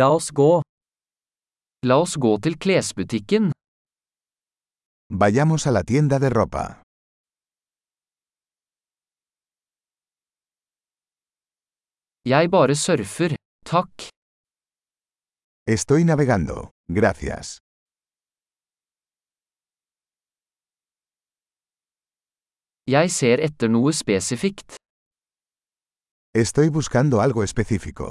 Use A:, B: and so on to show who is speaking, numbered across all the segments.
A: La oss gå. La oss gå til klesbutikken.
B: Vayamos a la tienda de ropa.
A: Jeg bare surfer. Takk.
B: Estoy navegando. Gracias.
A: Jeg ser etter noe spesifikt.
B: Estoy buscando algo específico.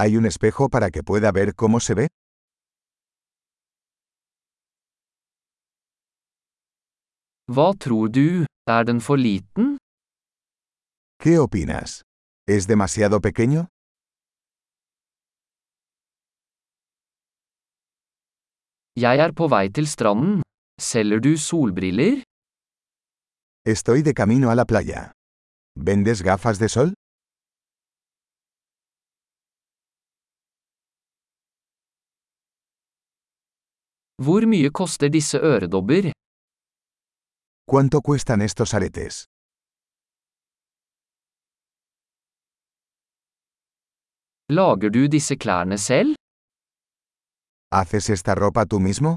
B: ¿Hay un espejo para que pueda ver cómo se ve?
A: Hva tror du? Er den for liten?
B: ¿Qué opinas? ¿Es demasiado pequeño?
A: Jeg er på vei til stranden. Selger du solbriller?
B: Estoy de camino a la playa. ¿Vendes gafas de sol?
A: Hvor mye koster disse øredobber?
B: ¿Cuánto cuestan estos aretes?
A: Lager du disse klærne selv?
B: ¿Haces esta ropa tú mismo?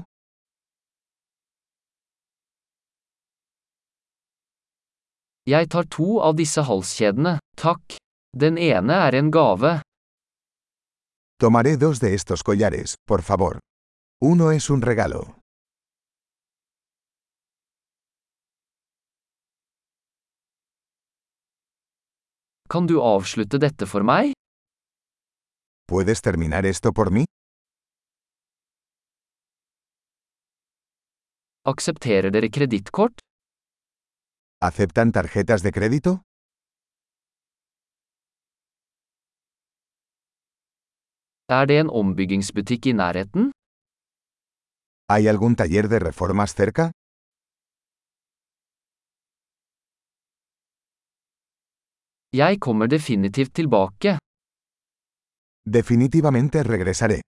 A: Jeg tar to av disse halskjedene, takk. Den ene er en gave.
B: Tomaré dos de estos collares, por favor. Uno es un regalo.
A: Kan du avslutte dette for meg?
B: ¿Puedes terminar esto por mí?
A: Aksepterer dere kredittkort?
B: ¿Aceptan tarjetas de crédito?
A: Er det en ombyggingsbutikk i nærheten?
B: ¿Hay algún taller de reformas cerca?
A: Jeg kommer definitivt tilbake.
B: Definitivamente regresaré.